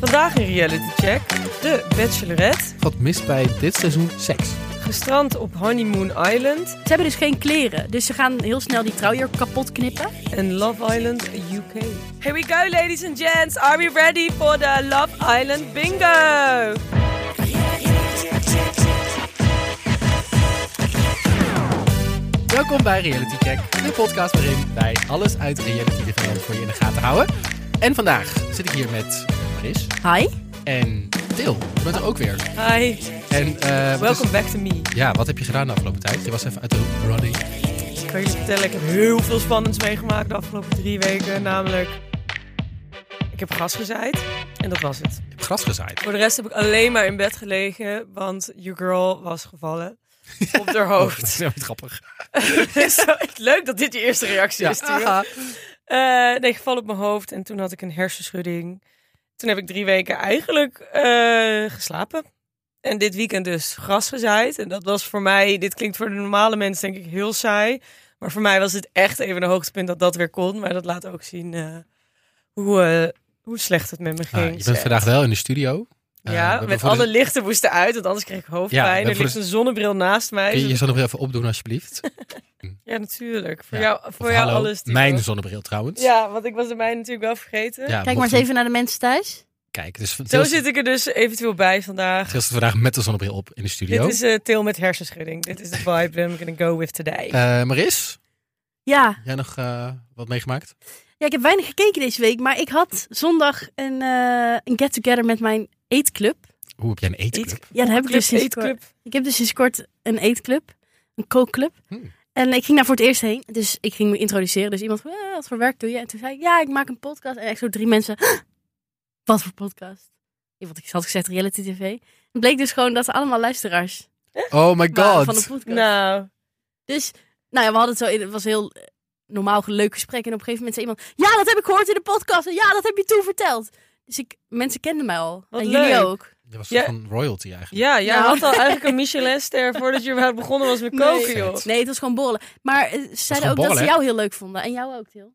Vandaag in Reality Check, de Bachelorette, Wat mist bij dit seizoen seks? gestrand op Honeymoon Island Ze hebben dus geen kleren, dus ze gaan heel snel die trouwjurk kapot knippen. en Love Island UK. Here we go, ladies and gents. Are we ready for the Love Island bingo? Welkom bij Reality Check, de podcast waarin wij alles uit reality development voor je in de gaten houden. En vandaag zit ik hier met Maris Hi. en Til. Je bent er ook weer. Hi, En eh, wat is- welcome back to me. ja, wat heb je gedaan de afgelopen tijd? Je was even uit de running. Ik kan jullie vertellen, ik heb heel veel spannends meegemaakt de afgelopen drie weken. Namelijk, ik heb gras gezaaid en dat was het. Je hebt gras gezaaid. Voor de rest heb ik alleen maar in bed gelegen, want your girl was gevallen op haar Oh, hoofd. dat is wel wat grappig. Zo, Dus Leuk dat dit je eerste reactie Ja. is. Tio. Eh, nee, gevallen op mijn hoofd en toen had ik een hersenschudding. Toen heb ik drie weken eigenlijk eh, geslapen. En dit weekend dus gras gezaaid. En dat was voor mij, dit klinkt voor de normale mens denk ik heel saai. Maar voor mij was het echt even een hoogtepunt dat dat weer kon. Maar dat laat ook zien eh, hoe, eh, hoe slecht het met me Ah, ging. je bent vandaag wel in de studio. Eh, we Ja, hebben met voor de- alle lichten moesten uit, want anders kreeg ik Ja, we hoofdpijn. hebben er voor ligt de- een zonnebril naast mij. Kun je zodat- je zonnebril even opdoen alsjeblieft? Ja, natuurlijk. Voor Ja, jou, voor Of jou hallo, alles. Timo. Mijn zonnebril trouwens. Ja, want ik was de mijne natuurlijk wel vergeten. Ja, Kijk maar mocht eens je- even naar de mensen thuis. Kijk, dus Zo Til zit ik er dus eventueel bij vandaag. Til zit vandaag met de zonnebril op in de studio. Dit is eh Til met hersenschudding. Dit is de vibe that I'm gonna go with today. Eh, Maris, Ja. jij nog eh, wat meegemaakt? ja, ik heb weinig gekeken deze week, maar ik had zondag een, eh, een get-together met mijn eetclub. Hoe heb jij een eetclub? Ja, daar heb ik dus sinds kort. eetclub. Ik heb dus sinds kort een eetclub, een kookclub. Hmm. En ik ging daar voor het eerst heen, dus ik ging me introduceren. Dus iemand van, "Eh, wat voor werk doe je? En toen zei ik, ja, ik maak een podcast. En echt zo drie mensen, wat voor podcast? Want ik had gezegd reality tv. Het bleek dus gewoon dat ze allemaal luisteraars Oh my waren van de podcast. Nou, Dus, nou ja, we hadden het zo, in- het was een heel eh, normaal leuk gesprek. En op een gegeven moment zei iemand, ja, dat heb ik gehoord in de podcast. En ja, dat heb je toen verteld. Dus ik, mensen kenden mij al. Wat en jullie leuk. ook. Dat was Ja. van royalty eigenlijk. ja, jij Nou. had al eigenlijk een Michelinster voordat je überhaupt begonnen was met koken, nee. joh. Nee, het was gewoon borrelen. Maar eh, ze zeiden ook gewoon dat ze borrelen, jou heel leuk vonden. En jou ook, Til.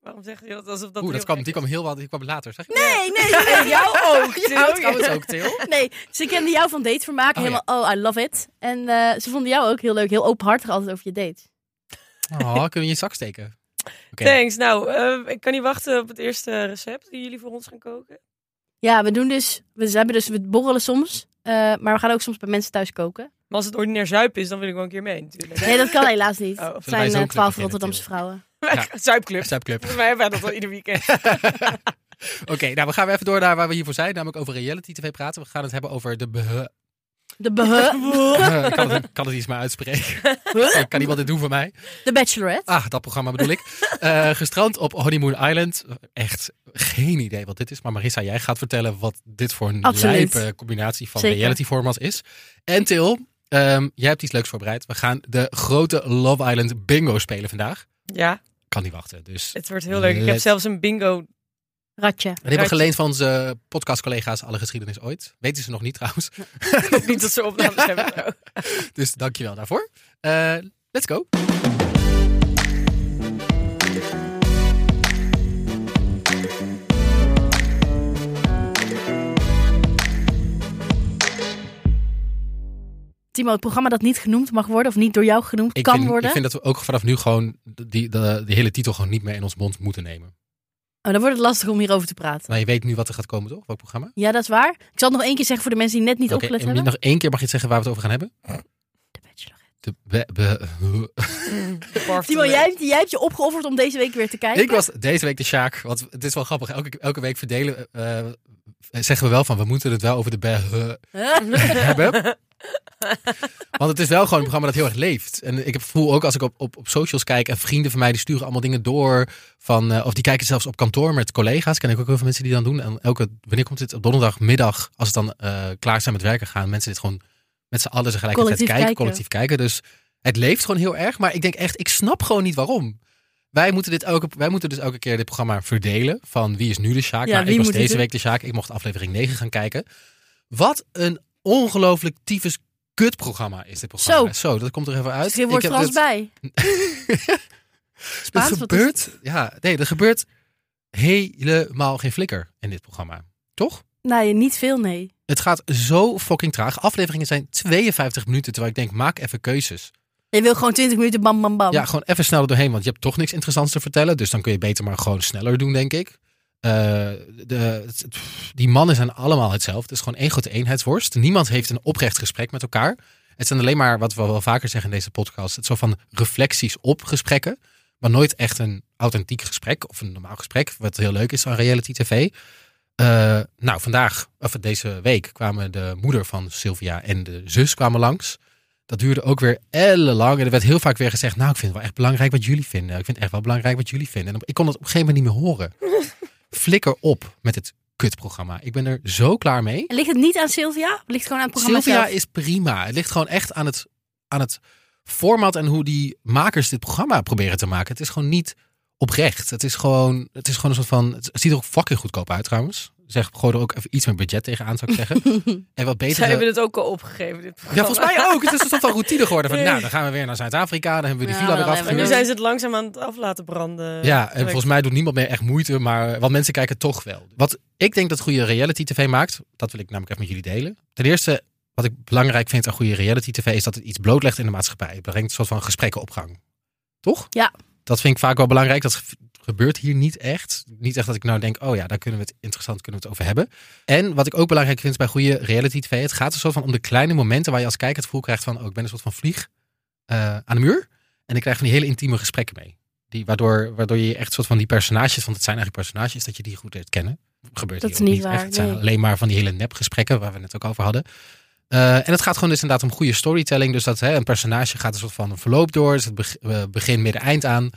Waarom zeg je dat alsof dat Oeh, dat heel kwam, gek die kwam heel wat, die kwam later. Zeg je? Nee, oh, nee, nee. is? Jou ook, Til. Ja, dat kwam het ook, Til. Nee, ze kenden jou van datevermaak. Oh, helemaal, oh, I love it. En eh, ze vonden jou ook heel leuk. Heel openhartig altijd over je dates. Oh, kunnen we je in je zak steken? Oké. Thanks. Nou, eh, ik kan niet wachten op het eerste recept die jullie voor ons gaan koken. Ja, we doen dus, we, ze hebben dus, we borrelen soms. eh, maar we gaan ook soms bij mensen thuis koken. Maar als het ordinair zuip is, dan wil ik wel een keer mee natuurlijk. Nee, dat kan helaas niet. Oh. Zullen Het wij zijn zo'n eh, club twaalf beginnen, Rotterdamse Til? vrouwen. Zuipclub. Zuipclub. Volgens mij hebben wij dat al ieder weekend. Oké, nou we gaan weer even door naar waar we hiervoor zijn. Namelijk over reality tv praten. We gaan het hebben over de... beh- De beh- Eh, ik kan het, ik kan het iets maar uitspreken. Ik kan iemand dit doen voor mij? De Bachelorette. Ah, dat programma bedoel ik. Eh, gestrand op Honeymoon Island. Echt geen idee wat dit is. Maar Marissa, jij gaat vertellen wat dit voor een Absoluut. lijpe combinatie van Zeker. reality format is. En Til, ehm, jij hebt iets leuks voorbereid. We gaan de grote Love Island bingo spelen vandaag. Ja, Kan niet wachten. Dus het wordt heel leuk. Ik heb Let's- zelfs een bingo Ratje. we hebben Ruikt- geleend van onze podcastcollega's Alle Geschiedenis Ooit. Weten ze nog niet trouwens. Hm. Ik hoop niet dat ze opnames hebben. Dus dankjewel daarvoor. Eh, let's go. Timo, het programma dat niet genoemd mag worden of niet door jou genoemd Ik kan vind, worden. Ik vind dat we ook vanaf nu gewoon die, de, die hele titel gewoon niet meer in ons mond moeten nemen. Oh, dan wordt het lastig om hierover te praten. Maar je weet nu wat er gaat komen, toch? Welk programma? Ja, dat is waar. Ik zal het nog één keer zeggen voor de mensen die net niet Oké, opgelet en hebben. nog één keer mag je het zeggen waar we het over gaan hebben. De Bachelorette. De be- be- Timo, jij, hebt- jij hebt je opgeofferd om deze week weer te kijken. ik was deze week de Sjaak. Want het is wel grappig. Elke, elke week verdelen eh, eh, zeggen we wel van we moeten het wel over de be- hebben. Want het is wel gewoon een programma dat heel erg leeft. En ik heb voel ook als ik op, op, op socials kijk en vrienden van mij die sturen allemaal dingen door. Van, eh, of die kijken zelfs op kantoor met collega's. Ken ik ook heel veel mensen die dan doen. En elke, wanneer komt dit? Op donderdagmiddag, als het dan eh, klaar zijn met werken, gaan mensen dit gewoon met z'n allen tegelijkertijd Collectief kijken, kijken. collectief kijken. Dus het leeft gewoon heel erg. Maar ik denk echt, ik snap gewoon niet waarom. Wij moeten, dit elke, wij moeten dus elke keer dit programma verdelen. Van wie is nu de Sjaak? Ja, maar wie ik was moet dit deze doen? week de Sjaak. Ik mocht aflevering 9 gaan kijken. Wat een ongelooflijk tyfus kutprogramma is dit programma. Zo, dat komt er even uit. Dus je wordt Ik Frans heb dit- bij. Spaans, Er wat is gebeurt, ja, nee, er gebeurt helemaal geen flikker in dit programma. Toch? Nee, niet veel, nee. Het gaat zo fucking traag. Afleveringen zijn 52 minuten, terwijl ik denk, maak even keuzes. Je wil gewoon 20 minuten bam, bam, bam. Ja, gewoon even snel er doorheen, want je hebt toch niks interessants te vertellen. Dus dan kun je beter maar gewoon sneller doen, denk ik. Eh, de, het- pff, die mannen zijn allemaal hetzelfde. Het is gewoon één grote eenheidsworst. Niemand heeft een oprecht gesprek met elkaar. Het zijn alleen maar, wat we wel vaker zeggen in deze podcast, het zo van reflecties op gesprekken. Maar nooit echt een authentiek gesprek of een normaal gesprek. Wat heel leuk is aan reality tv. Eh, nou, vandaag, of deze week, kwamen de moeder van Sylvia en de zus kwamen langs. Dat duurde ook weer ellenlang. En er werd heel vaak weer gezegd, nou, ik vind het wel echt belangrijk wat jullie vinden. Ik vind het echt wel belangrijk wat jullie vinden. En op- ik kon het op een gegeven moment niet meer horen. Flikker op met het kutprogramma. Ik ben er zo klaar mee. En ligt het niet aan Sylvia? Ligt het gewoon aan het programma Sylvia zelf? is prima. Het ligt gewoon echt aan het, aan het format en hoe die makers dit programma proberen te maken. Het is gewoon niet oprecht. Het is gewoon, het is gewoon een soort van. Het ziet er ook fucking goedkoop uit trouwens. Zeg, gooi er ook even iets meer budget tegenaan, zou ik zeggen. En wat beter. Zij hebben het ook al opgegeven, dit Ja, programma. volgens mij ook. Het is een soort van routine geworden. Van, Nee. nou, dan gaan we weer naar Zuid-Afrika. Dan hebben we die Ja, villa wel eraf even. En nu gehuurd. zijn ze het langzaam aan het af laten branden. Ja, en volgens mij doet niemand meer echt moeite, maar want mensen kijken toch wel. Wat ik denk dat goede reality tv maakt, dat wil ik namelijk even met jullie delen. Ten eerste, wat ik belangrijk vind aan goede reality tv is dat het iets blootlegt in de maatschappij. Het brengt een soort van gesprekken op gang. Toch? Ja. Dat vind ik vaak wel belangrijk. Dat ge- gebeurt hier niet echt. Niet echt dat ik nou denk, oh ja, daar kunnen we het interessant kunnen we het over hebben. En wat ik ook belangrijk vind bij goede reality tv, het gaat een soort van om de kleine momenten waar je als kijker het gevoel krijgt van, oh, ik ben een soort van vlieg eh, aan de muur. En ik krijg van die hele intieme gesprekken mee. Die, waardoor, waardoor je echt soort van die personages, want het zijn eigenlijk personages, dat je die goed leert kennen. Gebeurt Dat hier is ook niet niet waar, echt. Het zijn nee. alleen maar van die hele nepgesprekken waar we het ook over hadden. Eh, en het gaat gewoon dus inderdaad om goede storytelling. Dus dat hè, een personage gaat een soort van een verloop door. Dus het beg- eh, begin, midden, eind aan.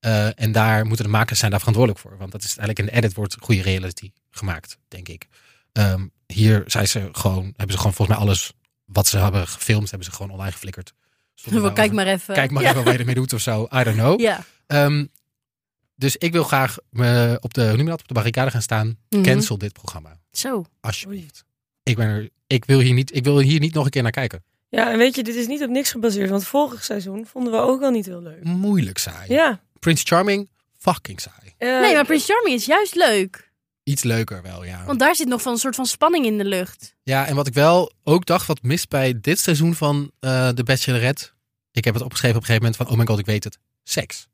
Eh, en daar moeten de makers zijn daar verantwoordelijk voor. Want dat is eigenlijk in de edit wordt goede reality gemaakt, denk ik. Ehm, hier zijn ze gewoon, hebben ze gewoon volgens mij alles wat ze hebben gefilmd, hebben ze gewoon online geflikkerd. Zonder Wel, daar Kijk over- maar even. Kijk maar ja. even wat je ermee doet of zo. I don't know. Ja. Ehm, dus ik wil graag me op de, hoe noem je dat, op de barricade gaan staan. Mhm. Cancel dit programma. Zo. Alsjeblieft. Ik, ben er, ik, wil hier niet, ik wil hier niet nog een keer naar kijken. Ja, en weet je, dit is niet op niks gebaseerd. Want vorig seizoen vonden we ook al niet heel leuk. Moeilijk saai. Ja. Prince Charming, fucking saai. eh, Nee, maar Prince Charming is juist leuk. Iets leuker wel, ja. Oh. Want daar zit nog van een soort van spanning in de lucht. Ja, en wat ik wel ook dacht, wat mist bij dit seizoen van eh The Bachelorette. Ik heb het opgeschreven op een gegeven moment van, oh my god, ik weet het. Seks.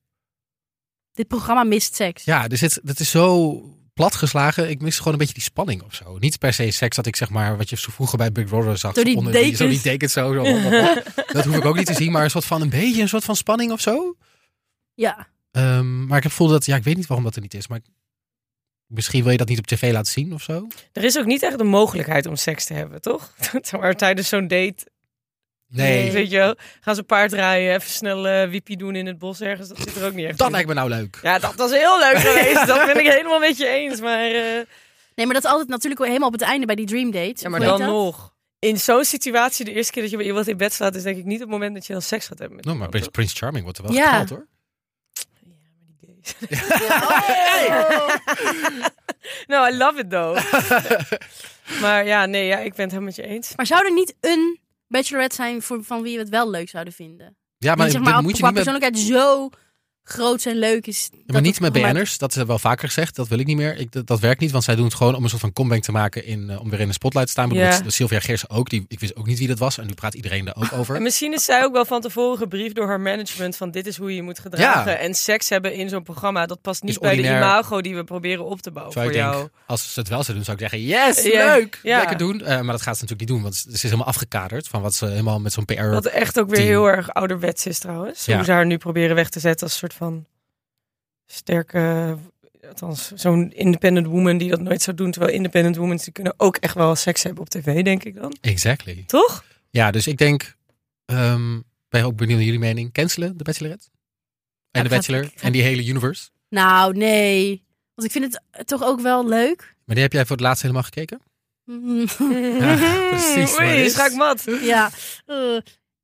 Dit programma mist seks. Ja, dus het, dat is zo platgeslagen. Ik mis gewoon een beetje die spanning of zo. Niet per se seks dat ik zeg maar, wat je zo vroeger bij Big Brother zag. Door die zo Zo dekens. die dekens zo. zo hop, hop, hop. dat hoef ik ook niet te zien, maar een soort van, een beetje een soort van spanning of zo. ja. Ehm, maar ik heb het gevoel dat, ja, ik weet niet waarom dat er niet is. Maar ik- misschien wil je dat niet op tv laten zien of zo. Er is ook niet echt de mogelijkheid om seks te hebben, toch? Zeg maar tijdens zo'n date, Nee, Nee. weet je wel, gaan ze paard rijden, even snel eh wiepie doen in het bos ergens. Dat zit er ook niet echt dat in. lijkt me nou leuk. Ja, dat was heel leuk geweest. Dat ben ik helemaal met je eens. Maar, eh, Nee, maar dat is altijd natuurlijk helemaal op het einde bij die dream date. ja, maar Hoe heet dan dat? nog. In zo'n situatie, de eerste keer dat je bij iemand in bed slaat, is denk ik niet het moment dat je dan seks gaat hebben. Met Nou, maar Prins, iemand, Prins Charming wordt er wel Ja. geknald, hoor. toch? Ja, maar die gays. Oh, No, Nou, I love it though. maar ja, nee, ja, ik ben het helemaal met je eens. Maar zou er niet een bachelorette zijn voor, van wie we het wel leuk zouden vinden? Ja, maar, die zeg dit maar moet je qua niet met, persoonlijkheid zo groot en leuk is. Ja, maar niet met BN'ers. BN'ers, dat is wel vaker gezegd. Dat wil ik niet meer. Ik, dat, dat werkt niet, want zij doen het gewoon om een soort van comeback te maken in, eh, om weer in de spotlight te staan. Maar Ja. bijvoorbeeld Sylvia Geersen ook, die, ik wist ook niet wie dat was. En nu praat iedereen daar ook En over. misschien is zij ook wel van tevoren gebriefd door haar management van dit is hoe je je moet gedragen. En seks hebben in zo'n programma, dat past niet Is bij de ordinair. imago die we proberen op te bouwen Zou ik voor jou. denk, als ze het wel zou doen, zou ik zeggen, yes, Ja, leuk, ja. lekker doen. Eh, maar dat gaat ze natuurlijk niet doen, want ze ze is helemaal afgekaderd van wat ze helemaal met zo'n PR... Wat echt ook weer Team. heel erg ouderwets is trouwens. Ja. Hoe ze haar nu proberen weg te zetten als soort van sterke... Althans, zo'n independent woman die dat nooit zou doen. Terwijl independent women die kunnen ook echt wel seks hebben op tv, denk ik dan. Exactly. Toch? Ja, dus ik denk, ehm ben ook benieuwd naar jullie mening. Cancelen, de Bachelorette? En de Ja, ik ga- Bachelor, ik ga- en die hele universe. Nou, nee. Want ik vind het eh, toch ook wel leuk. Maar die heb jij voor het laatst helemaal gekeken? Mm, Ja, precies, maar Oei, is- schaak mat. ja. Eh,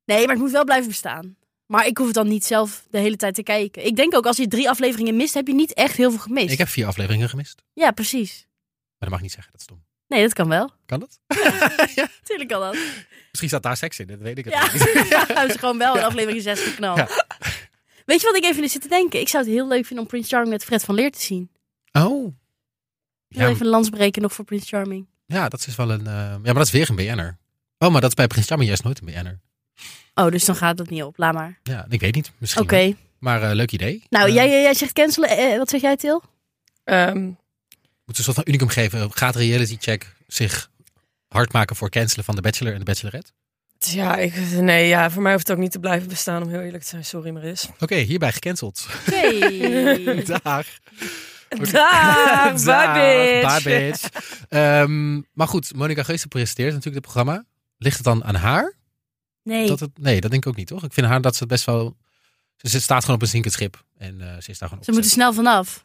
nee, maar het moet wel blijven bestaan. Maar ik hoef het dan niet zelf de hele tijd te kijken. Ik denk ook als je drie afleveringen mist, heb je niet echt heel veel gemist. Ik heb vier afleveringen gemist. Ja, precies. Maar dat mag ik niet zeggen, dat is dom. Nee, dat kan wel. Kan dat? Tuurlijk kan dat. Misschien zat daar seks in, dat weet ik het Ja, niet. ja hebben ze gewoon wel in aflevering 6 geknald. Ja. Weet je wat ik even zit te denken? Ik zou het heel leuk vinden om Prince Charming met Fred van Leer te zien. Oh. Ik wil even een lans breken nog voor Prince Charming. Ja, dat is wel een. eh, ja, maar dat is weer een BN'er. Oh, maar dat is bij Prins Jammer juist nooit een BN'er. Oh, dus dan gaat dat niet op. Laat maar. Ja, ik weet niet. Misschien. Oké. wel. Maar eh, leuk idee. Nou, Eh, jij, jij zegt cancelen. Eh, wat zeg jij, Til? Ehm, Moeten we een soort van unicum geven? Gaat reality check zich hard maken voor cancelen van de Bachelor en de Bachelorette? dus ja, ik, nee, ja, voor mij hoeft het ook niet te blijven bestaan, om heel eerlijk te zijn. Sorry, Maris. Oké, hierbij gecanceld. Oké. Dag. Oké. Daar, Dag, bye bitch. bye bitch. Ehm, maar goed, Monica Geuze presenteert natuurlijk het programma. Ligt het dan aan haar? nee. Dat het, nee, dat denk ik ook niet, toch? Ik vind haar dat ze het best wel... Ze ze staat gewoon op een zinkend schip. En eh, ze is daar gewoon Ze op. moeten snel vanaf.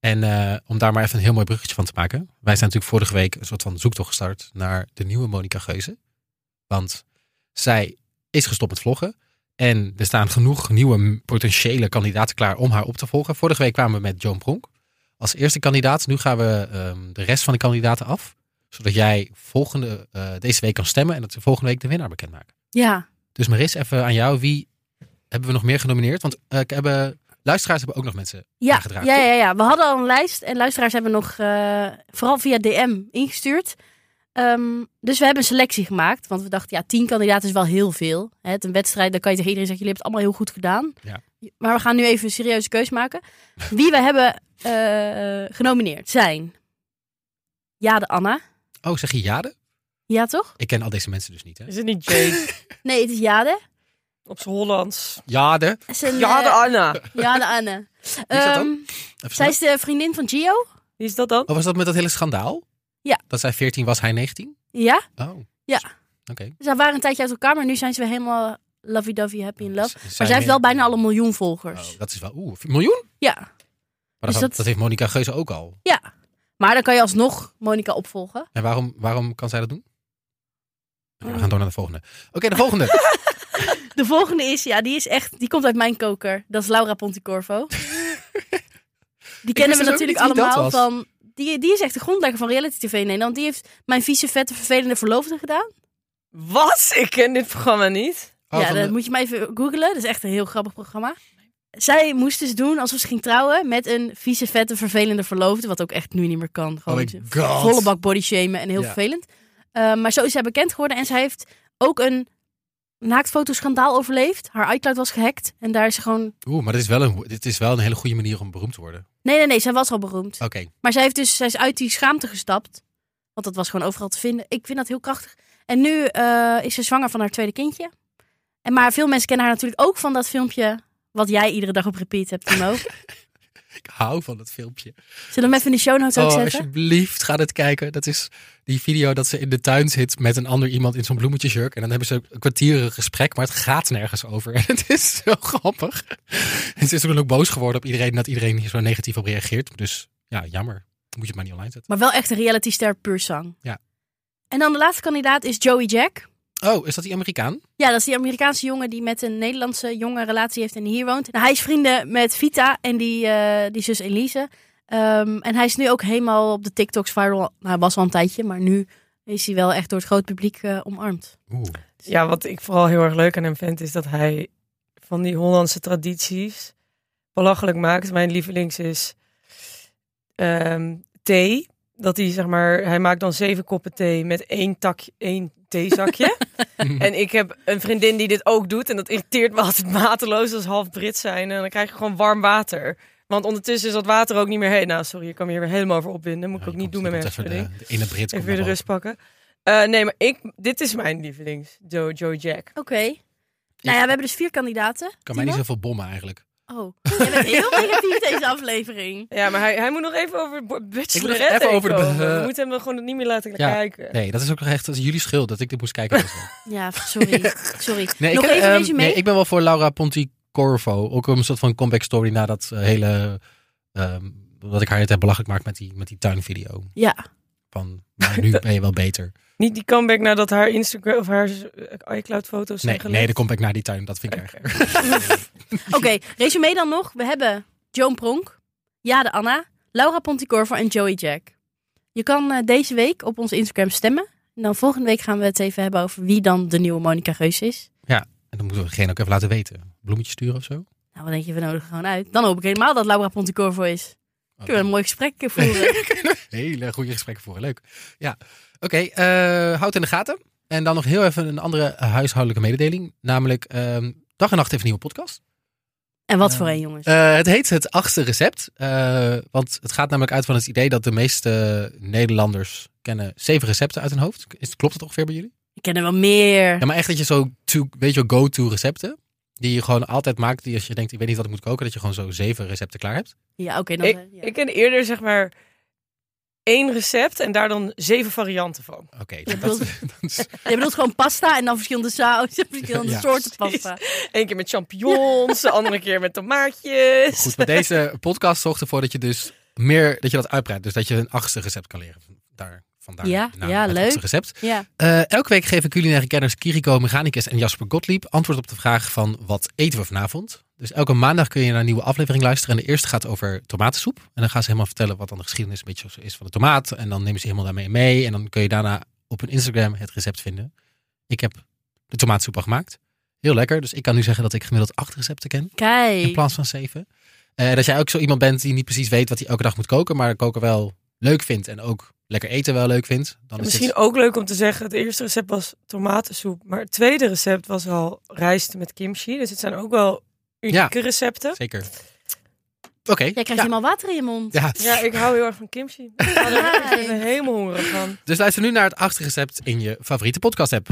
En eh, om daar maar even een heel mooi bruggetje van te maken. Wij zijn natuurlijk vorige week een soort van zoektocht gestart naar de nieuwe Monica Geuze. Want zij is gestopt met vloggen. En er staan genoeg nieuwe m- potentiële kandidaten klaar om haar op te volgen. Vorige week kwamen we met Joan Pronk als eerste kandidaat. Nu gaan we ehm, de rest van de kandidaten af. Zodat jij volgende, eh, deze week kan stemmen en dat we volgende week de winnaar bekendmaken. Ja. Dus Maris, even aan jou. Wie hebben we nog meer genomineerd? Want eh, ik hebben, luisteraars hebben ook nog mensen Ja, ja, aangedragen. ja, ja. We hadden al een lijst en luisteraars hebben nog eh, vooral via DM ingestuurd. Ehm, dus we hebben een selectie gemaakt, want we dachten, ja, tien kandidaten is wel heel veel. Hè, het is een wedstrijd, dan kan je tegen iedereen zeggen, jullie hebben het allemaal heel goed gedaan. Ja. Maar we gaan nu even een serieuze keus maken. Wie we hebben eh, genomineerd zijn Jade Anna. Oh, zeg je Jade? Ja, toch? Ik ken al deze mensen dus niet, hè? Is het niet Jade? Nee, het is Jade. Op zijn Hollands. Jade. Het is een, Ja, de eh, Anna. Jade Anne. is dat dan? Ehm, Even zij snel. is de vriendin van Gio. Wie is dat dan? Oh, was dat met dat hele schandaal? Ja. Dat zij 14 was, hij 19? Ja. Oh. Ja. Oké. Ze waren een tijdje uit elkaar, maar nu zijn ze weer helemaal lovey-dovey, happy in love. Z- Maar zij heeft wel bijna al een miljoen volgers. Oh, dat is wel... Oeh, miljoen? Ja. Maar Dus dat, dat- dat heeft Monica Geuze ook al. ja. Maar dan kan je alsnog Monica opvolgen. En waarom, waarom kan zij dat doen? Nou, we gaan door naar de volgende. Oké, de volgende. Oh, De volgende is, ja, die is echt, die komt uit mijn koker. Dat is Laura Pontecorvo. die kennen we dus ook natuurlijk niet wie dat allemaal was. van... Die, die is echt de grondlegger van reality tv in Nederland. Die heeft mijn vieze, vette, vervelende verloofde gedaan. Wat? Ik ken dit programma niet. Oh, ja, van dat de- moet je maar even googlen. Dat is echt een heel grappig programma. Zij moest dus doen alsof ze ging trouwen met een vieze, vette, vervelende verloofde. Wat ook echt nu niet meer kan. Oh Gewoon my zo- god. volle bak body shamen en heel Ja. vervelend. Uh, maar zo is zij bekend geworden en zij heeft ook een naaktfotoschandaal overleefd. Haar iCloud was gehackt en daar is ze gewoon... Oeh, maar dit is, wel een, dit is wel een hele goede manier om beroemd te worden. Nee, nee, nee, zij was al beroemd. Oké. Maar zij, heeft dus, zij is uit die schaamte gestapt. Want dat was gewoon overal te vinden. Ik vind dat heel krachtig. En nu eh, is ze zwanger van haar tweede kindje. En maar veel mensen kennen haar natuurlijk ook van dat filmpje... wat jij iedere dag op repeat hebt, Timo. Zullen Ik hou van dat filmpje. we hem even in de show notes ook Oh, zetten? alsjeblieft, ga dit kijken. Dat is die video dat ze in de tuin zit met een ander iemand in zo'n bloemetjesjurk. En dan hebben ze een kwartier een gesprek, maar het gaat nergens over. En het is zo grappig. En ze is toen ook boos geworden op iedereen, dat iedereen hier zo negatief op reageert. Dus ja, jammer. Dan Moet je het maar niet online zetten. Maar wel echt een realityster puur zang. Ja. En dan de laatste kandidaat is Joey Jack. Oh, is dat die Amerikaan? Ja, dat is die Amerikaanse jongen die met een Nederlandse jongen een relatie heeft en die hier woont. Nou, hij is vrienden met Vita en die, eh, die zus Elise. Ehm, en hij is nu ook helemaal op de TikToks viral. Nou, hij was al een tijdje, maar nu is hij wel echt door het groot publiek eh, omarmd. Oeh. Dus Ja, wat ik vooral heel erg leuk aan hem vind, is dat hij van die Hollandse tradities belachelijk maakt. Mijn lievelings is ehm, thee. Dat hij, zeg maar, hij maakt dan zeven koppen thee met één, takje, één theezakje. en ik heb een vriendin die dit ook doet. En dat irriteert me altijd mateloos als half Brit zijn. En dan krijg je gewoon warm water. Want ondertussen is dat water ook niet meer heen. Nou, sorry, ik kan me hier weer helemaal over opwinden. Moet Ja, ik ook je niet komt- doen met je mijn komt hersenschudding. Even de, de ene Brit. komt Even weer de naar rust pakken. Eh, nee, maar ik, dit is mijn lievelings, Joe, Joe Jack. Oké. Nou ja, we hebben dus vier kandidaten. boven. Kan mij niet Timo? zoveel bommen eigenlijk. Oh, jij bent heel negatief deze aflevering. Ja, maar hij, hij moet nog even over de Ik bachelorette moet even heen over de- komen. eh, We moeten hem dan gewoon niet meer laten Ja, kijken. Nee, dat is ook nog echt dat is jullie schuld dat ik dit moest kijken. Ja, sorry. sorry. Nee, Nog ik, even ehm, deze mee. Nee, ik ben wel voor Laura Ponticorvo. Ook een soort van comeback story na dat eh, hele... ehm, wat ik haar net heb belachelijk maakt met die, met die tuinvideo. Ja. Van, maar nu ben je wel beter. Niet die comeback nadat haar Instagram of haar eh, iCloud-foto's zijn Nee, gelekt. nee, de comeback na die tuin, dat vind ik erg. Oké, resume dan nog. We hebben Joan Pronk, Jade Anna, Laura Ponticorvo en Joey Jack. Je kan eh, deze week op ons Instagram stemmen. En dan volgende week gaan we het even hebben over wie dan de nieuwe Monica Geus is. En dan moeten we degene ook even laten weten. Bloemetje sturen of zo? Nou, wat denk je, we nodigen gewoon uit. Dan hoop ik helemaal dat Laura Ponticorvo is. Kunnen we een mooi gesprek voeren. Oh, Hele goede gesprekken voor. Leuk. Ja. Oké, eh, houd in de gaten. En dan nog heel even een andere eh, huishoudelijke mededeling. Namelijk ehm, Dag en Nacht heeft een nieuwe podcast. en wat Eh, voor een, jongens. Eh, het heet het achtste recept. Eh, want het gaat namelijk uit van het idee dat de meeste Nederlanders kennen zeven recepten uit hun hoofd. Is, klopt dat ongeveer bij jullie? Ik ken er wel meer. Ja, maar echt dat je zo to, weet je, wel, go-to recepten. Die je gewoon altijd maakt. Die als je denkt, ik weet niet wat ik moet koken. Dat je gewoon zo zeven recepten klaar hebt. Ja, oké. dan, Ik, eh, ja. ik ken eerder zeg maar één recept en daar dan zeven varianten van. Oké, Ja, dat, dat is... Je bedoelt gewoon pasta en dan verschillende sausen, verschillende Ja, soorten precies. pasta. Eén keer met champignons, de andere keer met tomaatjes. Goed, maar deze podcast zorgt ervoor dat je dus meer, dat je dat uitbreidt. Dus dat je een achtste recept kan leren. Daar, vandaar Ja, de naam, ja, het leuk. achtste recept. Ja. Eh, elke week geven culinaire kenners Kiriko, Mechanicus en Jasper Gottlieb antwoord op de vraag van wat eten we vanavond. Dus elke maandag kun je naar een nieuwe aflevering luisteren. En de eerste gaat over tomatensoep. En dan gaan ze helemaal vertellen wat dan de geschiedenis een beetje zo is van de tomaat. En dan nemen ze helemaal daarmee mee. En dan kun je daarna op hun Instagram het recept vinden. Ik heb de tomatensoep al gemaakt. Heel lekker. Dus ik kan nu zeggen dat ik gemiddeld acht recepten ken. In Kijk. plaats van zeven. Eh, dat jij ook zo iemand bent die niet precies weet wat hij elke dag moet koken. Maar koken wel leuk vindt. En ook lekker eten wel leuk vindt. Dan is Misschien het- ook leuk om te zeggen, het eerste recept was tomatensoep. Maar het tweede recept was al rijst met kimchi. Dus het zijn ook wel unieke recepten. Zeker. Oké. Jij krijgt ja. helemaal water in je mond. Ja. Ja, ik hou heel erg van kimchi. Ik ben er helemaal hongerig van. Dus luister nu naar het achtste recept in je favoriete podcast app.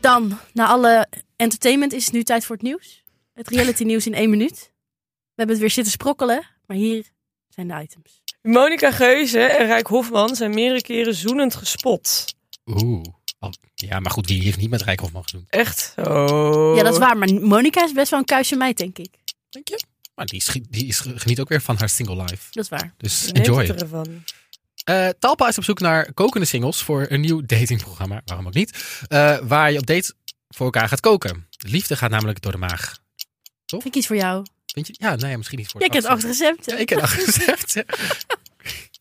Dan, na alle entertainment is het nu tijd voor het nieuws. Het reality nieuws in één minuut. We hebben het weer zitten sprokkelen, maar hier zijn de items. Monica Geuze en Rijk Hofman zijn meerdere keren zoenend gespot. Oeh. Oh, ja, maar goed, wie heeft niet met Rijk Hofman gezoend? Echt? Oh. Ja, dat is waar, maar Monica is best wel een kuisje meid, denk ik. Denk je? Maar die, schi- die is, geniet ook weer van haar single life. Dat is waar. Dus Je neemt enjoy. het ervan. Eh, Talpa is op zoek naar kokende singles voor een nieuw datingprogramma. Waarom ook niet? Eh, waar je op date voor elkaar gaat koken. De liefde gaat namelijk door de maag. Vind ik iets voor jou. Vind je? Ja, nee, misschien niet voor Jij kent acht achter. recepten. Ja, ik heb achter gezegd.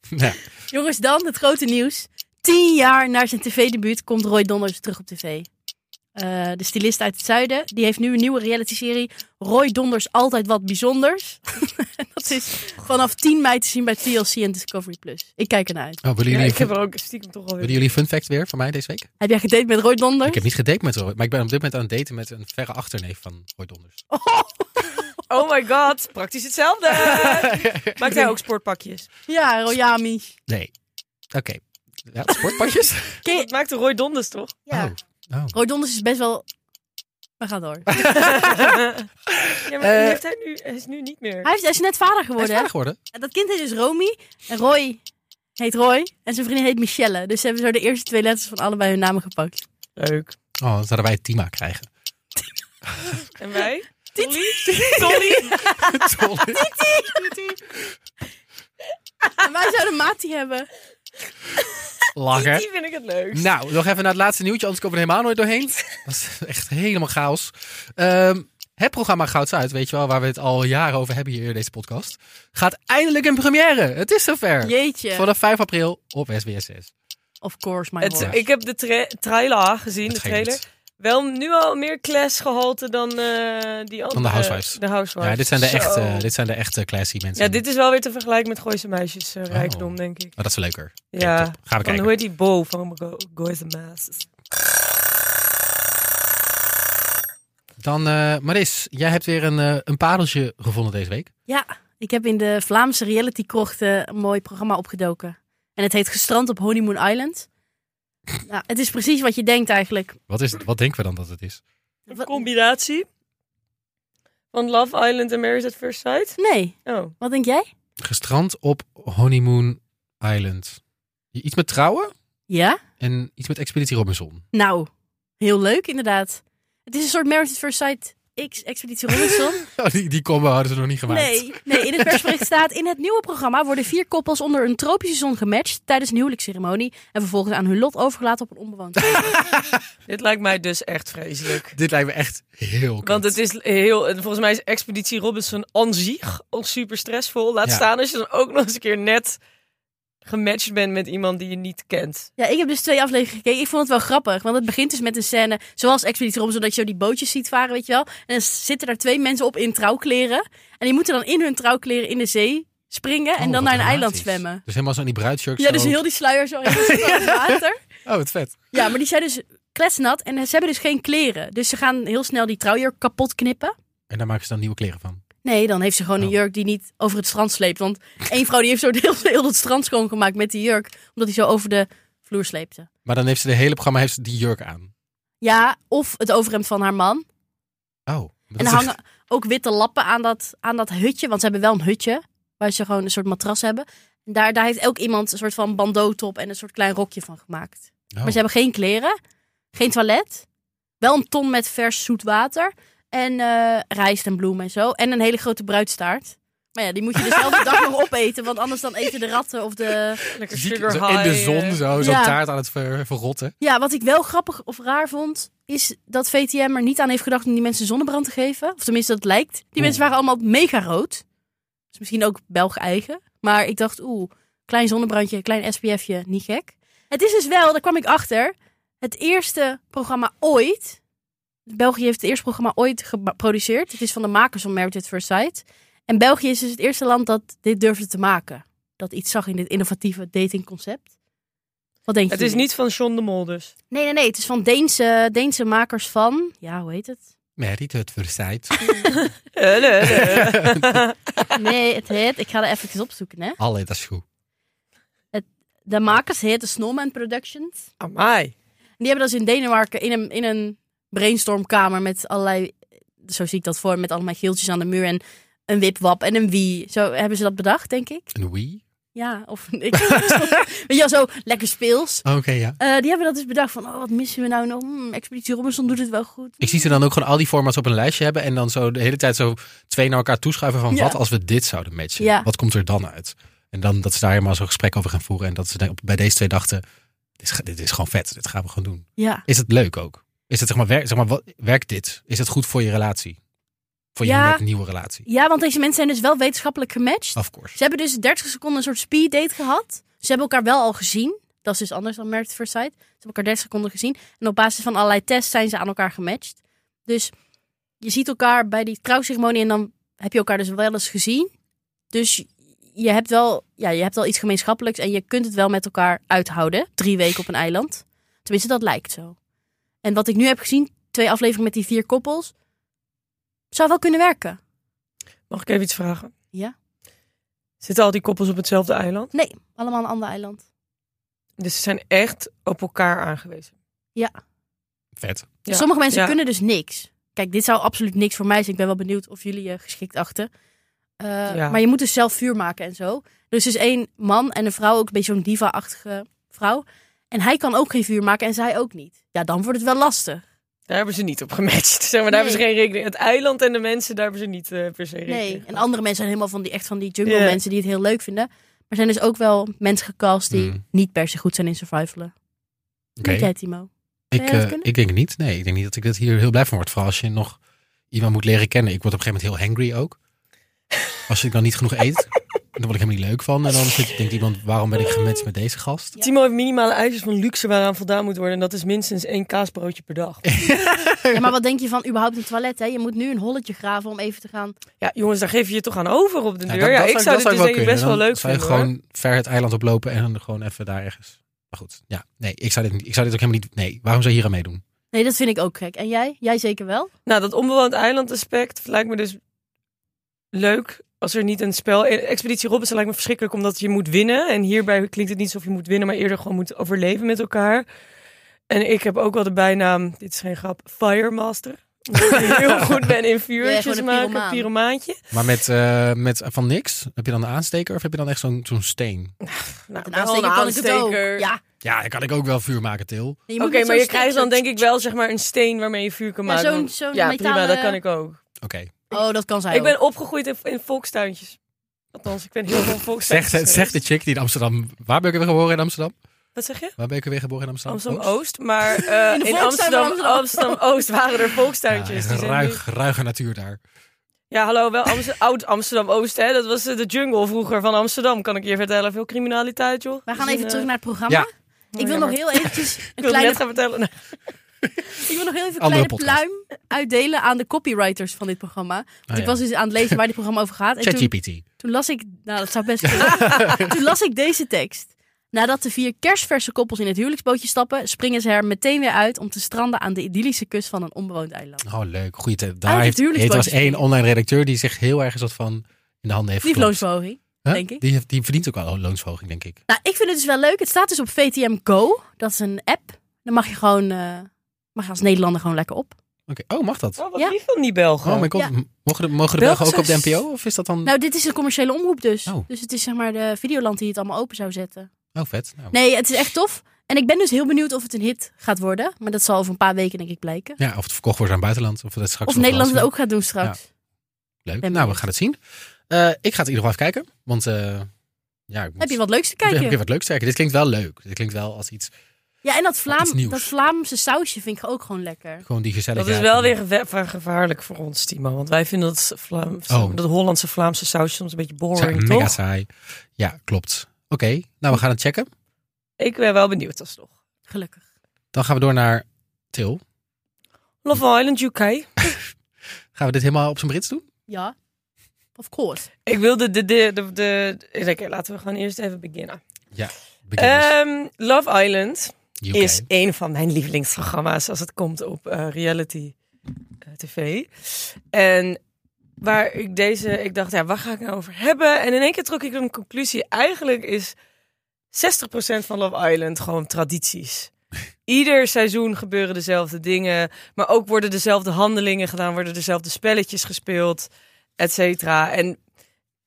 nou, Jongens, dan het grote nieuws. Tien jaar na zijn tv-debuut komt Roy Donders terug op tv. Eh, de stylist uit het zuiden, die heeft nu een nieuwe reality-serie. Roy Donders altijd wat bijzonders. dat is vanaf 10 mei te zien bij TLC en Discovery+. Plus. Ik kijk ernaar uit. oh, Ja, willen, jullie ik heb fun, er ook stiekem toch alweer... willen jullie fun fact weer van mij deze week? Heb jij gedate met Roy Donders? Ik heb niet gedate met Roy, maar ik ben op dit moment aan het daten met een verre achterneef van Roy Donders. Oh my god, praktisch hetzelfde. Maakt hij ook sportpakjes? Ja, Royami. Nee. Oké. Ja, sportpakjes? Ken je- Dat maakte Roy Donders toch? Ja. Oh. Oh. Roy Donders is best wel... We gaan door. Hij, Ja, maar die Eh. heeft hij, nu, hij is nu niet meer. heeft, hij is net vader Hij is geworden. hè? vader geworden. En Dat kind heet dus Romy. En Roy heet Roy. En zijn vriendin heet Michelle. Dus ze hebben zo de eerste twee letters van allebei hun namen gepakt. Leuk. Oh, dan zouden wij Tima krijgen. En wij? Titi. Sorry. Sorry. En wij zouden Mati hebben. Langer. Die vind ik het leukst. Nou, nog even naar het laatste nieuwtje, anders komen we er helemaal nooit doorheen. Dat is echt helemaal chaos. Ehm, het programma Gouds Uit, weet je wel, waar we het al jaren over hebben hier in deze podcast, gaat eindelijk in première. Het is zover. Jeetje. Vanaf 5 april op SBS6. Of course, my Het, horse. ik heb de tra- trailer gezien, Het de ging trailer. niet. Wel nu al meer class gehalte dan eh, die andere. Housewives. De Housewives. Ja, dit zijn de Zo. echte, dit zijn de echte classy mensen. Ja, dit is wel weer te vergelijken met Gooise Meisjes eh, rijkdom, Oh. denk ik. Oh, dat is wel leuker. Oké, Ja. top. Gaan we Van, kijken. hoe heet die Bo van Go- Gooise Meisjes? Dan, eh, Maris, jij hebt weer een, eh, een pareltje gevonden deze week. Ja, ik heb in de Vlaamse realitykrochten een mooi programma opgedoken. En het heet Gestrand op Honeymoon Island. Nou, het is precies wat je denkt eigenlijk. Wat, is, wat denken we dan dat het is? Een Wat- combinatie van Love Island en Marriage at First Sight. Nee, Oh, wat denk jij? Gestrand op Honeymoon Island. Iets met trouwen Ja? en iets met Expeditie Robinson. Nou, heel leuk inderdaad. Het is een soort Marriage at First Sight X Expeditie Robinson. Oh, die, die combo hadden ze nog niet gemaakt. Nee, nee, in het persbericht staat... in het nieuwe programma worden vier koppels onder een tropische zon gematcht... tijdens een huwelijksceremonie... en vervolgens aan hun lot overgelaten op een onbewoond eiland. dit lijkt mij dus echt vreselijk. Dit lijkt me echt heel kut. Want het is heel, volgens mij is Expeditie Robinson aan zich al super stressvol. Laat Ja. staan als je dan ook nog eens een keer net gematcht bent met iemand die je niet kent. Ja, ik heb dus twee afleveringen gekeken. Ik vond het wel grappig, want het begint dus met een scène zoals Expeditie Robinson, dat je zo die bootjes ziet varen, weet je wel. En dan zitten daar twee mensen op in trouwkleren. En die moeten dan in hun trouwkleren in de zee springen en Oh, dan wat naar een eiland dramatisch. zwemmen. Dus helemaal zo in die bruidsjurk. Ja, dus zo. heel die sluier zo in het water. Oh, wat vet. Ja, maar die zijn dus kletsnat en ze hebben dus geen kleren. Dus ze gaan heel snel die trouwjurk kapot knippen. En daar maken ze dan nieuwe kleren van. Nee, dan heeft ze gewoon een Oh. jurk die niet over het strand sleept. Want één vrouw die heeft zo heel, heel het strand schoongemaakt met die jurk. Omdat die zo over de vloer sleepte. Maar dan heeft ze de hele programma heeft ze die jurk aan. Ja, of het overhemd van haar man. Oh. dat is en er echt- hangen ook witte lappen aan dat, aan dat hutje. Want ze hebben wel een hutje. Waar ze gewoon een soort matras hebben. En daar, daar heeft ook iemand een soort van bandeau top en een soort klein rokje van gemaakt. Oh. Maar ze hebben geen kleren, geen toilet, wel een ton met vers zoet water en eh, rijst en bloemen en zo. En een hele grote bruidstaart. Maar ja, die moet je dus elke dag nog opeten, want anders dan eten de ratten of de... Lekker Ziek, sugar zo high. in de eh. zon, zo, zo'n Ja. taart aan het ver- verrotten. Ja, wat ik wel grappig of raar vond, is dat VTM er niet aan heeft gedacht om die mensen zonnebrand te geven. Of tenminste, dat lijkt. Die mensen waren allemaal mega rood. Dus misschien ook Belg eigen. Maar ik dacht, oeh, klein zonnebrandje, klein SPFje, niet gek. Het is dus wel, daar kwam ik achter, het eerste programma ooit. België heeft het eerste programma ooit geproduceerd. Het is van de makers van Married at First Sight. En België is dus het eerste land dat dit durfde te maken. Dat iets zag in dit innovatieve datingconcept. Wat denk je? Het is niet van John de Mol dus. Nee, nee, nee. Het is van Deense, Deense makers van... Ja, hoe heet het? Merit het verzijt. Eh, nee, nee. Nee, het heet... Ik ga er even opzoeken, hè. Allee, dat is goed. De makers heten Snowman Productions. Amai. En die hebben dat dus in Denemarken in een, in een brainstormkamer met allerlei... Zo zie ik dat voor, met allemaal geeltjes aan de muur en een wipwap en een wie. Zo hebben ze dat bedacht, denk ik. Een wie? Ja, of... Ik, weet je wel, zo lekker speels. Oké, ja. Eh, die hebben dat dus bedacht van, oh, wat missen we nou nog? Hmm, Expeditie Robinson doet het wel goed. Ik zie ze dan ook gewoon al die formats op een lijstje hebben. En dan zo de hele tijd zo twee naar elkaar toeschuiven van Ja. wat als we dit zouden matchen? Ja. Wat komt er dan uit? En dan dat ze daar helemaal zo'n gesprek over gaan voeren. En dat ze dan op- bij deze twee dachten, dit is, ge- dit is gewoon vet. Dit gaan we gewoon doen. Ja. Is het leuk ook? Is het zeg maar, wer- zeg maar wat, werkt dit? Is het goed voor je relatie? Voor je Ja. net nieuwe relatie? ja, want deze mensen zijn dus wel wetenschappelijk gematcht. Of course. Ze hebben dus 30 seconden een soort speed date gehad. Ze hebben elkaar wel al gezien. Dat is dus anders dan Married at First Sight. Ze hebben elkaar 30 seconden gezien. En op basis van allerlei tests zijn ze aan elkaar gematcht. Dus je ziet elkaar bij die trouwceremonie en dan heb je elkaar dus wel eens gezien. Dus je hebt wel, ja, je hebt wel iets gemeenschappelijks en je kunt het wel met elkaar uithouden. Drie weken op een eiland. Tenminste, dat lijkt zo. En wat ik nu heb gezien, twee afleveringen met die vier koppels, zou wel kunnen werken. Mag ik even iets vragen? Ja. Zitten al die koppels op hetzelfde eiland? Nee, allemaal een ander eiland. Dus ze zijn echt op elkaar aangewezen. Vet. Ja. Sommige mensen Ja. kunnen dus niks. Kijk, dit zou absoluut niks voor mij zijn. Ik ben wel benieuwd of jullie je geschikt achten. Eh, Ja. Maar je moet dus zelf vuur maken en zo. Dus er is één man en een vrouw, ook een beetje zo'n diva-achtige vrouw. En hij kan ook geen vuur maken en zij ook niet. Ja, dan wordt het wel lastig. Daar hebben ze niet op gematcht. Zeg maar, daar Nee. hebben ze geen rekening. Het eiland en de mensen, daar hebben ze niet eh, per se rekening. Nee. En mee. andere mensen zijn helemaal van die, echt van die jungle Ja. mensen die het heel leuk vinden. Maar zijn dus ook wel mensen gecast die Mm. niet per se goed zijn in survivalen. Oké. Denk jij, Timo? Zou Ik, jij dat eh, kunnen? ik denk het niet. Nee, ik denk niet dat ik dat hier heel blij van word. Vooral als je nog iemand moet leren kennen. Ik word op een gegeven moment heel hangry ook. Als ik dan niet genoeg eet, dan word ik helemaal niet leuk van. En dan zit- denkt iemand, waarom ben ik gematcht met deze gast? Ja. Timo heeft minimale eisen van luxe waaraan voldaan moet worden. En dat is minstens één kaasbroodje per dag. Ja, maar wat denk je van überhaupt een toilet? Hè? Je moet nu een holletje graven om even te gaan. Ja, jongens, daar geef je je toch aan over op de deur. Ja, ik zou dit dus wel denk ik best wel Dan leuk zou je vinden. hoor. gewoon ver het eiland oplopen en dan gewoon even daar ergens. Maar goed, ja. Nee, ik zou dit, niet- ik zou dit ook helemaal niet... Nee, waarom zou je hier aan meedoen? Nee, dat vind ik ook gek. En jij? Jij zeker wel? Nou, dat onbewoond eiland aspect lijkt me dus leuk. Als er niet een spel... eh, Expeditie Robinson lijkt me verschrikkelijk omdat je moet winnen. En hierbij klinkt het niet alsof je moet winnen, maar eerder gewoon moet overleven met elkaar. En ik heb ook wel de bijnaam, dit is geen grap, Firemaster. Omdat ik heel goed ben in gewoon vuurtjes een maken, pyromaan. pyromaantje. Maar met, eh, met van niks? Heb je dan een aansteker of heb je dan echt zo'n zo'n steen? Nou, Een wel aansteker kan ik het ook. Ja. Ja, dan kan ik ook wel vuur maken, Til. Nee, Oké, moet met maar zo'n je krijgt steek dan zo- denk ik wel zeg maar een steen waarmee je vuur kan Ja, maken. zo'n- want- zo'n ja, prima, metalen- dat kan ik ook. Oké. Oh, dat kan zijn. Ik ben opgegroeid in, in volkstuintjes. Althans, ik ben heel veel volkstuintjes. Zegt, zegt de geweest. chick die in Amsterdam... Waar ben ik weer geboren in Amsterdam? Wat zeg je? Waar ben ik weer geboren in Amsterdam? Amsterdam Oost? Oost, maar eh, In de in volkstuin van Amsterdam Amsterdam. Amsterdam Oost waren er Ja, volkstuintjes. echt die zijn nu- ruig, ruige natuur daar. Ja, hallo, wel Amst- oud Amsterdam-Oost, hè. Dat was eh, de jungle vroeger van Amsterdam, kan ik je vertellen. Veel criminaliteit, joh. We Dus gaan een, even eh, terug naar het programma. ja. Ik wil jammer. nog heel eventjes Ik een wil het kleine, net gaan vertellen. Nee. ik wil nog heel even een Andere kleine podcast. Oh, pluim uitdelen aan de copywriters van dit programma. Want ik Nou ja. was dus aan het lezen waar dit programma over gaat. En toen- ChatGPT. Toen las ik, nou dat zou best kunnen. Toen las ik deze tekst. Nadat de vier kerstverse koppels in het huwelijksbootje stappen, springen ze er meteen weer uit om te stranden aan de idyllische kust van een onbewoond eiland. Oh, leuk. Goeie te- Ah, Daar dat heeft, huwelijksbootje het was één springen. online redacteur die zich heel erg een soort van in de handen heeft geklopt. Liefloonsverhoging, Huh? denk ik. Die, heeft- die verdient ook al een loonsverhoging, denk ik. Nou, ik vind het dus wel leuk. Het staat dus op VTM Go. Dat is een app. Dan mag je gewoon, eh, mag je als Nederlander gewoon lekker op. Oké. Oh, mag dat? Oh, wat Ja. lief van die Belgen. Oh mijn god. Ja. M- Mogen de, mogen de Belgische Belgen ook op de s- NPO? Of is dat dan... Nou, dit is een commerciële omroep dus. Oh. Dus het is zeg maar de Videoland die het allemaal open zou zetten. Oh, vet. Nou, Nee, het is echt tof. En ik ben dus heel benieuwd of het een hit gaat worden. Maar dat zal over een paar weken denk ik blijken. Ja, of het verkocht wordt aan het buitenland. Of, dat straks Of nog Nederland het verrassing. ook gaat doen straks. Leuk. Ben nou, we benieuwd. gaan het zien. Eh, ik ga het in ieder geval even kijken. Want eh, ja, ik moet- Heb je wat leuks te heb ik kijken? weer wat leuks te kijken. Dit klinkt wel leuk. Dit klinkt wel als iets, Ja, en dat, Iets Vlaam, nieuws. dat Vlaamse sausje vind ik ook gewoon lekker. gewoon die gezelligheid. Dat is wel en- weer geve- ver- gevaarlijk voor ons, Timo. Want wij vinden dat, Vlaams, Oh. dat Hollandse Vlaamse saus soms een beetje Sa- boring, mega toch? saai. Ja, klopt. Oké, nou we gaan het checken. Ik ben wel benieuwd alsnog. Gelukkig. Dan gaan we door naar Til. Hm. Love Island UK. Gaan we dit helemaal op zijn Brits doen? Ja, of course. Ik wilde de... de, de, de, de- Oké, laten we gewoon eerst even beginnen. Beginners, Ehm, Love Island UK. Eh, is een van mijn lievelingsprogramma's als het komt op eh, reality eh, tv. En waar ik deze... Ik dacht, ja, waar ga ik nou over hebben? En in één keer trok ik een conclusie. Eigenlijk is 60% van Love Island gewoon tradities. Ieder seizoen gebeuren dezelfde dingen. Maar ook worden dezelfde handelingen gedaan. Worden dezelfde spelletjes gespeeld. Et cetera. En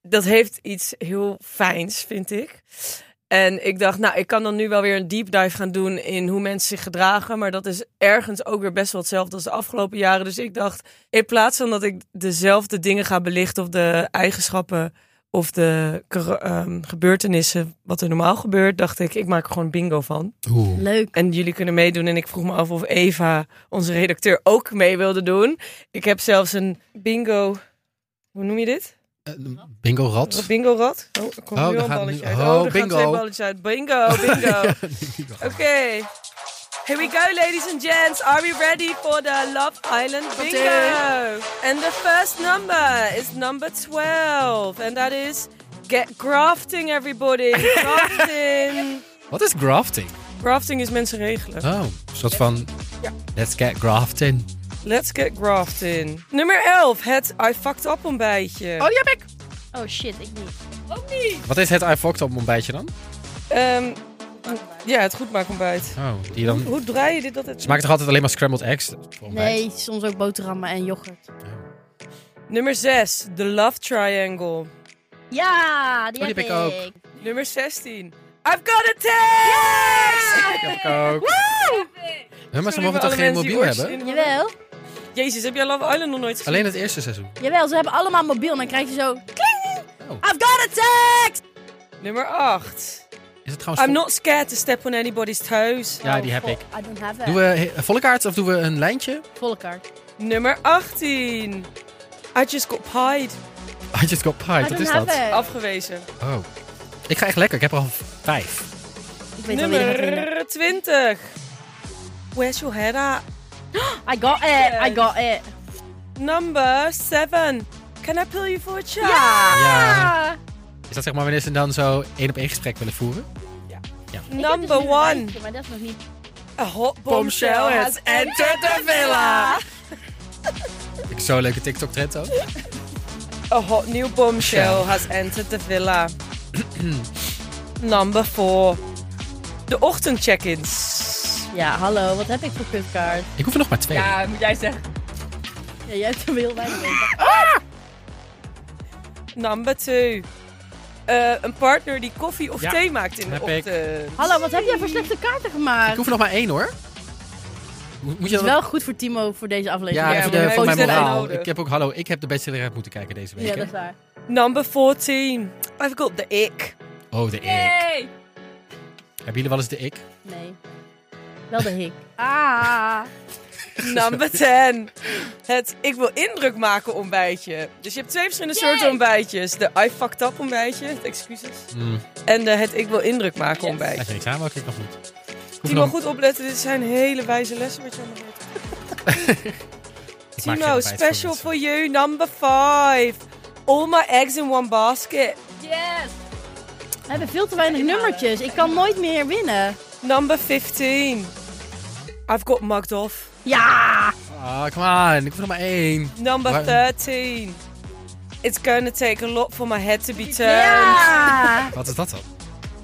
dat heeft iets heel fijns, vind ik. En ik dacht, nou, ik kan dan nu wel weer een deep dive gaan doen in hoe mensen zich gedragen. Maar dat is ergens ook weer best wel hetzelfde als de afgelopen jaren. Dus ik dacht, in plaats van dat ik dezelfde dingen ga belichten of de eigenschappen of de kara- ehm, gebeurtenissen, wat er normaal gebeurt, dacht ik, ik maak er gewoon bingo van. Oeh. Leuk. En jullie kunnen meedoen. En ik vroeg me af of Eva, onze redacteur, ook mee wilde doen. Ik heb zelfs een bingo. Hoe noem je dit? Eh, bingo rat. Bingo rad? Oh, er komt Oh, nu al daar een gaat balletje nu- uit. oh, Oh, er gaan bingo. twee balletjes uit. Bingo, bingo. Oké. Here we go, ladies and gents. Are we ready for the Love Island bingo? And the first number is number 12. And that is get grafting, everybody. Grafting. Wat is grafting? grafting is mensen regelen. Oh, een soort van... Let's get grafting. Let's get grafting. Nummer 11, het I fucked up ontbijtje. Oh, die heb ik. Oh shit, ik niet. ook niet. Wat is het I fucked up ontbijtje dan? Ehm, ja, het goed maken ontbijt. Oh, die dan... Hoe draai je dit dat het... Ze maken toch altijd alleen maar scrambled eggs? voor ontbijt? Nee, soms ook boterhammen en yoghurt. Nummer 6, The Love Triangle. Ja, die, Oh, die heb heb ik ook. ik. Nummer 16, I've got a text! Die heb ik ook. Hè, maar ze Sorry mogen voor toch alle geen mensen die mobiel hebben? oortjes in- Jawel, Jezus, heb jij Love Island nog nooit gezien? Alleen het eerste seizoen. jawel, ze hebben allemaal mobiel. En dan krijg je zo... Kling! Oh. I've got a text! Nummer 8. Is het trouwens... I'm not scared to step on anybody's toes. Ja, die heb ik. Oh, I don't have Doen that. we he- volle kaart of doen we een lijntje? Volle kaart. Nummer 18. I just got pied. I just got I pie, don't wat is have dat? Eh, that. Afgewezen. Oh. Ik ga echt lekker, ik heb er al vijf. Ik weet al wie er gaat winnen. Nummer 20. Where's your head at? I got it, I got it. Number 7. Can I pull you for a chat? Ja. Eh, Is dat zeg maar wanneer ze dan zo één op één gesprek willen voeren? Number 1. Maar dat is nog niet... A hot bombshell has entered the villa. Vind Ik zo'n leuke TikTok-trend ook. A hot new bombshell has entered the villa. Number 4. De ochtendcheck-ins. Ja, hallo, wat heb ik voor kutkaart? Ik hoef er nog maar twee. moet jij zeggen. Ja, jij hebt er heel weinig Number 2. Eh, een partner die koffie of Ja, thee maakt in de heb ik. ochtend. Hallo, wat heb jij voor slechte kaarten Ik gemaakt? hoef er nog maar één hoor. Mo- Moet je Het is dan... wel goed voor Timo voor deze aflevering. Ja, Ja, even maar de, hij voor mijn heeft het moraal. nodig. Ik heb ook, hallo, ik heb de bachelorette moeten kijken deze week. Ja, hè? dat is waar. Number 14. I've got the ick. Oh, de ik. Hey. Hebben jullie wel eens de ik? Nee. Wel de hik. Ah. Number 10. Het ik wil indruk maken ontbijtje. Dus je hebt twee verschillende soorten Yay. ontbijtjes. De I fucked up ontbijtje, het excuses. Mm, En de het ik wil indruk maken Yes. ontbijtje. echt een examen ook, ik nog niet. Ik hoef Timo, nog- goed opletten. Dit zijn hele wijze lessen wat je allemaal leert. ik maak geen Timo, ontbijt voor special mensen. for you, number 5. All my eggs in one basket. Yes! We hebben veel te weinig nummertjes. Ik kan nooit meer winnen. Number 15. I've got mugged off. Ja! Ah, come on. Ik hoef nog maar één. Number Waar- 13. It's gonna take a lot for my head to be turned. Ja! Wat is dat dan?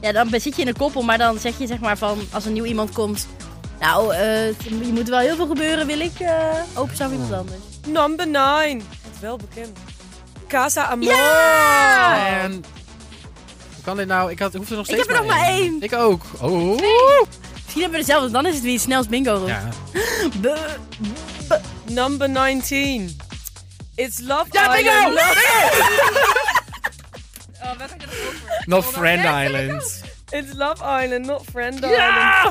Ja, dan zit je in een koppel, maar dan zeg je zeg maar van als er nieuw iemand komt. Nou, eh, je moet wel heel veel gebeuren, wil ik eh openstaan voor iemand anders. Number 9. Wat wel bekend. Casa Amor. Ja! En... Hoe kan dit nou? Ik had, hoefde nog Ehm, Ik steeds heb er nog maar één. Ik ook. Oh. Misschien hebben we dezelfde, dan is het wie het snelst bingo roept. Ja. Buh. Number 19. It's Love Oh, Ja, bingo! Island. Not Friend Island. It's Love Island, not Friend Island. Ja!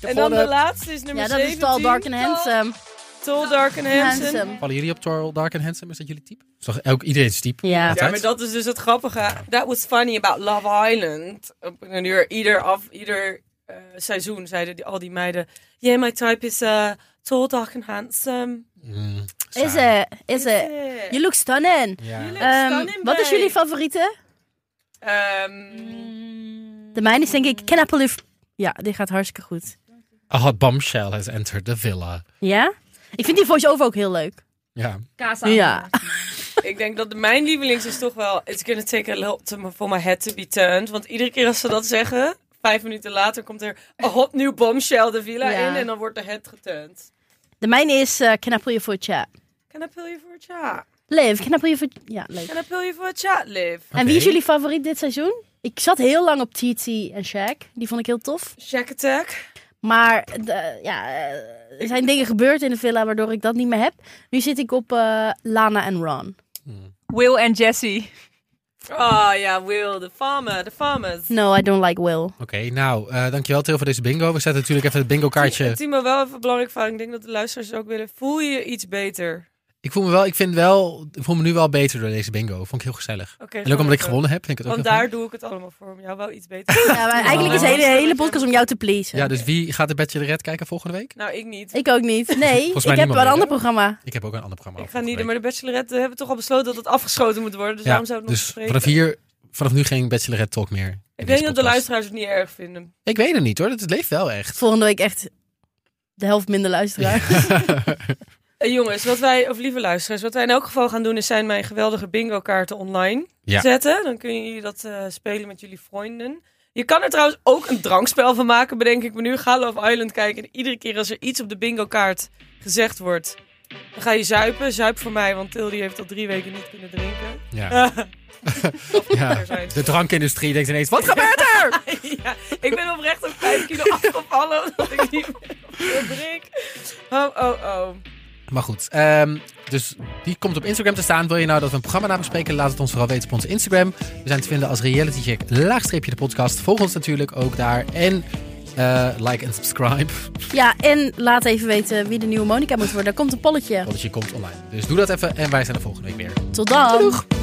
En dan de Gewonnen. laatste is nummer Ja, 7. dat is Tall, Dark and Handsome. Tall, Dark and Handsome. Handsome. Vallen jullie op Tall, Dark and Handsome? Is dat jullie type? Is toch elk, iedereen is type? Ja. Ja, Altijd? maar dat is dus het grappige. That was funny about Love Island. Op een uur, ieder, af, ieder eh, seizoen zeiden die, al die meiden... Yeah, my type is eh, tall, dark and handsome. Mm, saai. Is er, is er. it? You look stunning. Ja. Jullie- Eh, Ehm, stunning, wat is babe. jullie favoriete? Ehm, De mijne is denk ik Kenapaluf. Ja, dit gaat hartstikke goed. A hot bombshell has entered the villa. Ja? Ik vind die voice-over ook heel leuk. Ja. Casa. Ja. ik denk dat de- mijn lievelings is toch wel... It's gonna take a lot to- for my head to be turned. Want iedere keer als ze dat zeggen... Vijf minuten later komt er een hot nieuw bombshell de villa Ja. in. En dan wordt de head geturnd. De mijne is eh Can I pull you for a chat? Can I pull you for a chat? Liv, can I pull you for... Ja, leuk. Can I pull you for a chat, Liv? En wie is Oké. jullie favoriet dit seizoen? Ik zat heel lang op TT en Shaq. Die vond ik heel tof. Shack attack. Maar de- ja, eh, er zijn dingen gebeurd in de villa waardoor ik dat niet meer heb. Nu zit ik op eh, Lana en Ron. Will en Jesse. Oh ja, Will, de farmer, de farmers. No, I don't like Will. Oké, nou, eh, dankjewel Theo voor deze bingo. We zetten natuurlijk even het bingo kaartje. Timo, wel even belangrijk vraag. Ik denk dat de luisteraars het ook willen. Voel je je iets beter? Ik voel me wel, ik vind wel, ik voel me nu wel beter door deze bingo. Vond ik heel gezellig. Oké. En ook omdat ik gelukkig. gewonnen heb, vind ik het ook Want heel daar doe ik het allemaal voor. Om jou wel iets beter. Ja, maar eigenlijk is de hele, hele podcast om jou te pleasen. fijn. Ja, dus wie gaat de Bachelorette kijken volgende week? nou, ik niet. Ik ook niet. Nee, Volgens ik mij niemand heb wel een meer, ander programma. Ik heb ook een ander programma. Ik ga volgende niet, week. maar de bachelorette eh, hebben toch al besloten dat het afgeschoten moet worden. Dus Ja, waarom zou het nog dus bespreken? vanaf hier, vanaf nu geen Bachelorette talk meer. in Ik denk deze dat de podcast. luisteraars het niet erg vinden. Ik weet het niet hoor, het leeft wel echt. Volgende week echt de helft minder luisteraars. Eh, jongens, wat wij, of lieve luisteraars, wat wij in elk geval gaan doen is zijn mijn geweldige bingo kaarten online Ja. zetten. Dan kunnen jullie dat eh, spelen met jullie vrienden. Je kan er trouwens ook een drankspel van maken, bedenk ik me nu. Ga Love Island kijken en iedere keer als er iets op de bingo kaart gezegd wordt, dan ga je zuipen. Zuip voor mij, want Tilly heeft al drie weken niet kunnen drinken. Ja. ja. Daar zijn ze. De drankindustrie denkt ineens, wat gebeurt ja, ik ben oprecht op vijf kilo afgevallen, omdat ik niet meer op veel drink. Oh, oh, oh. Maar goed, ehm, dus die komt op Instagram te staan. Wil je nou dat we een programma na bespreken? Laat het ons vooral weten op onze Instagram. We zijn te vinden als Reality Check, laagstreepje de podcast. Volg ons natuurlijk ook daar. En eh, like en subscribe, ja, en laat even weten wie de nieuwe Monica moet worden. Daar komt een polletje. want je komt online. Dus doe dat even en wij zijn er volgende week weer. Tot dan. Doeg.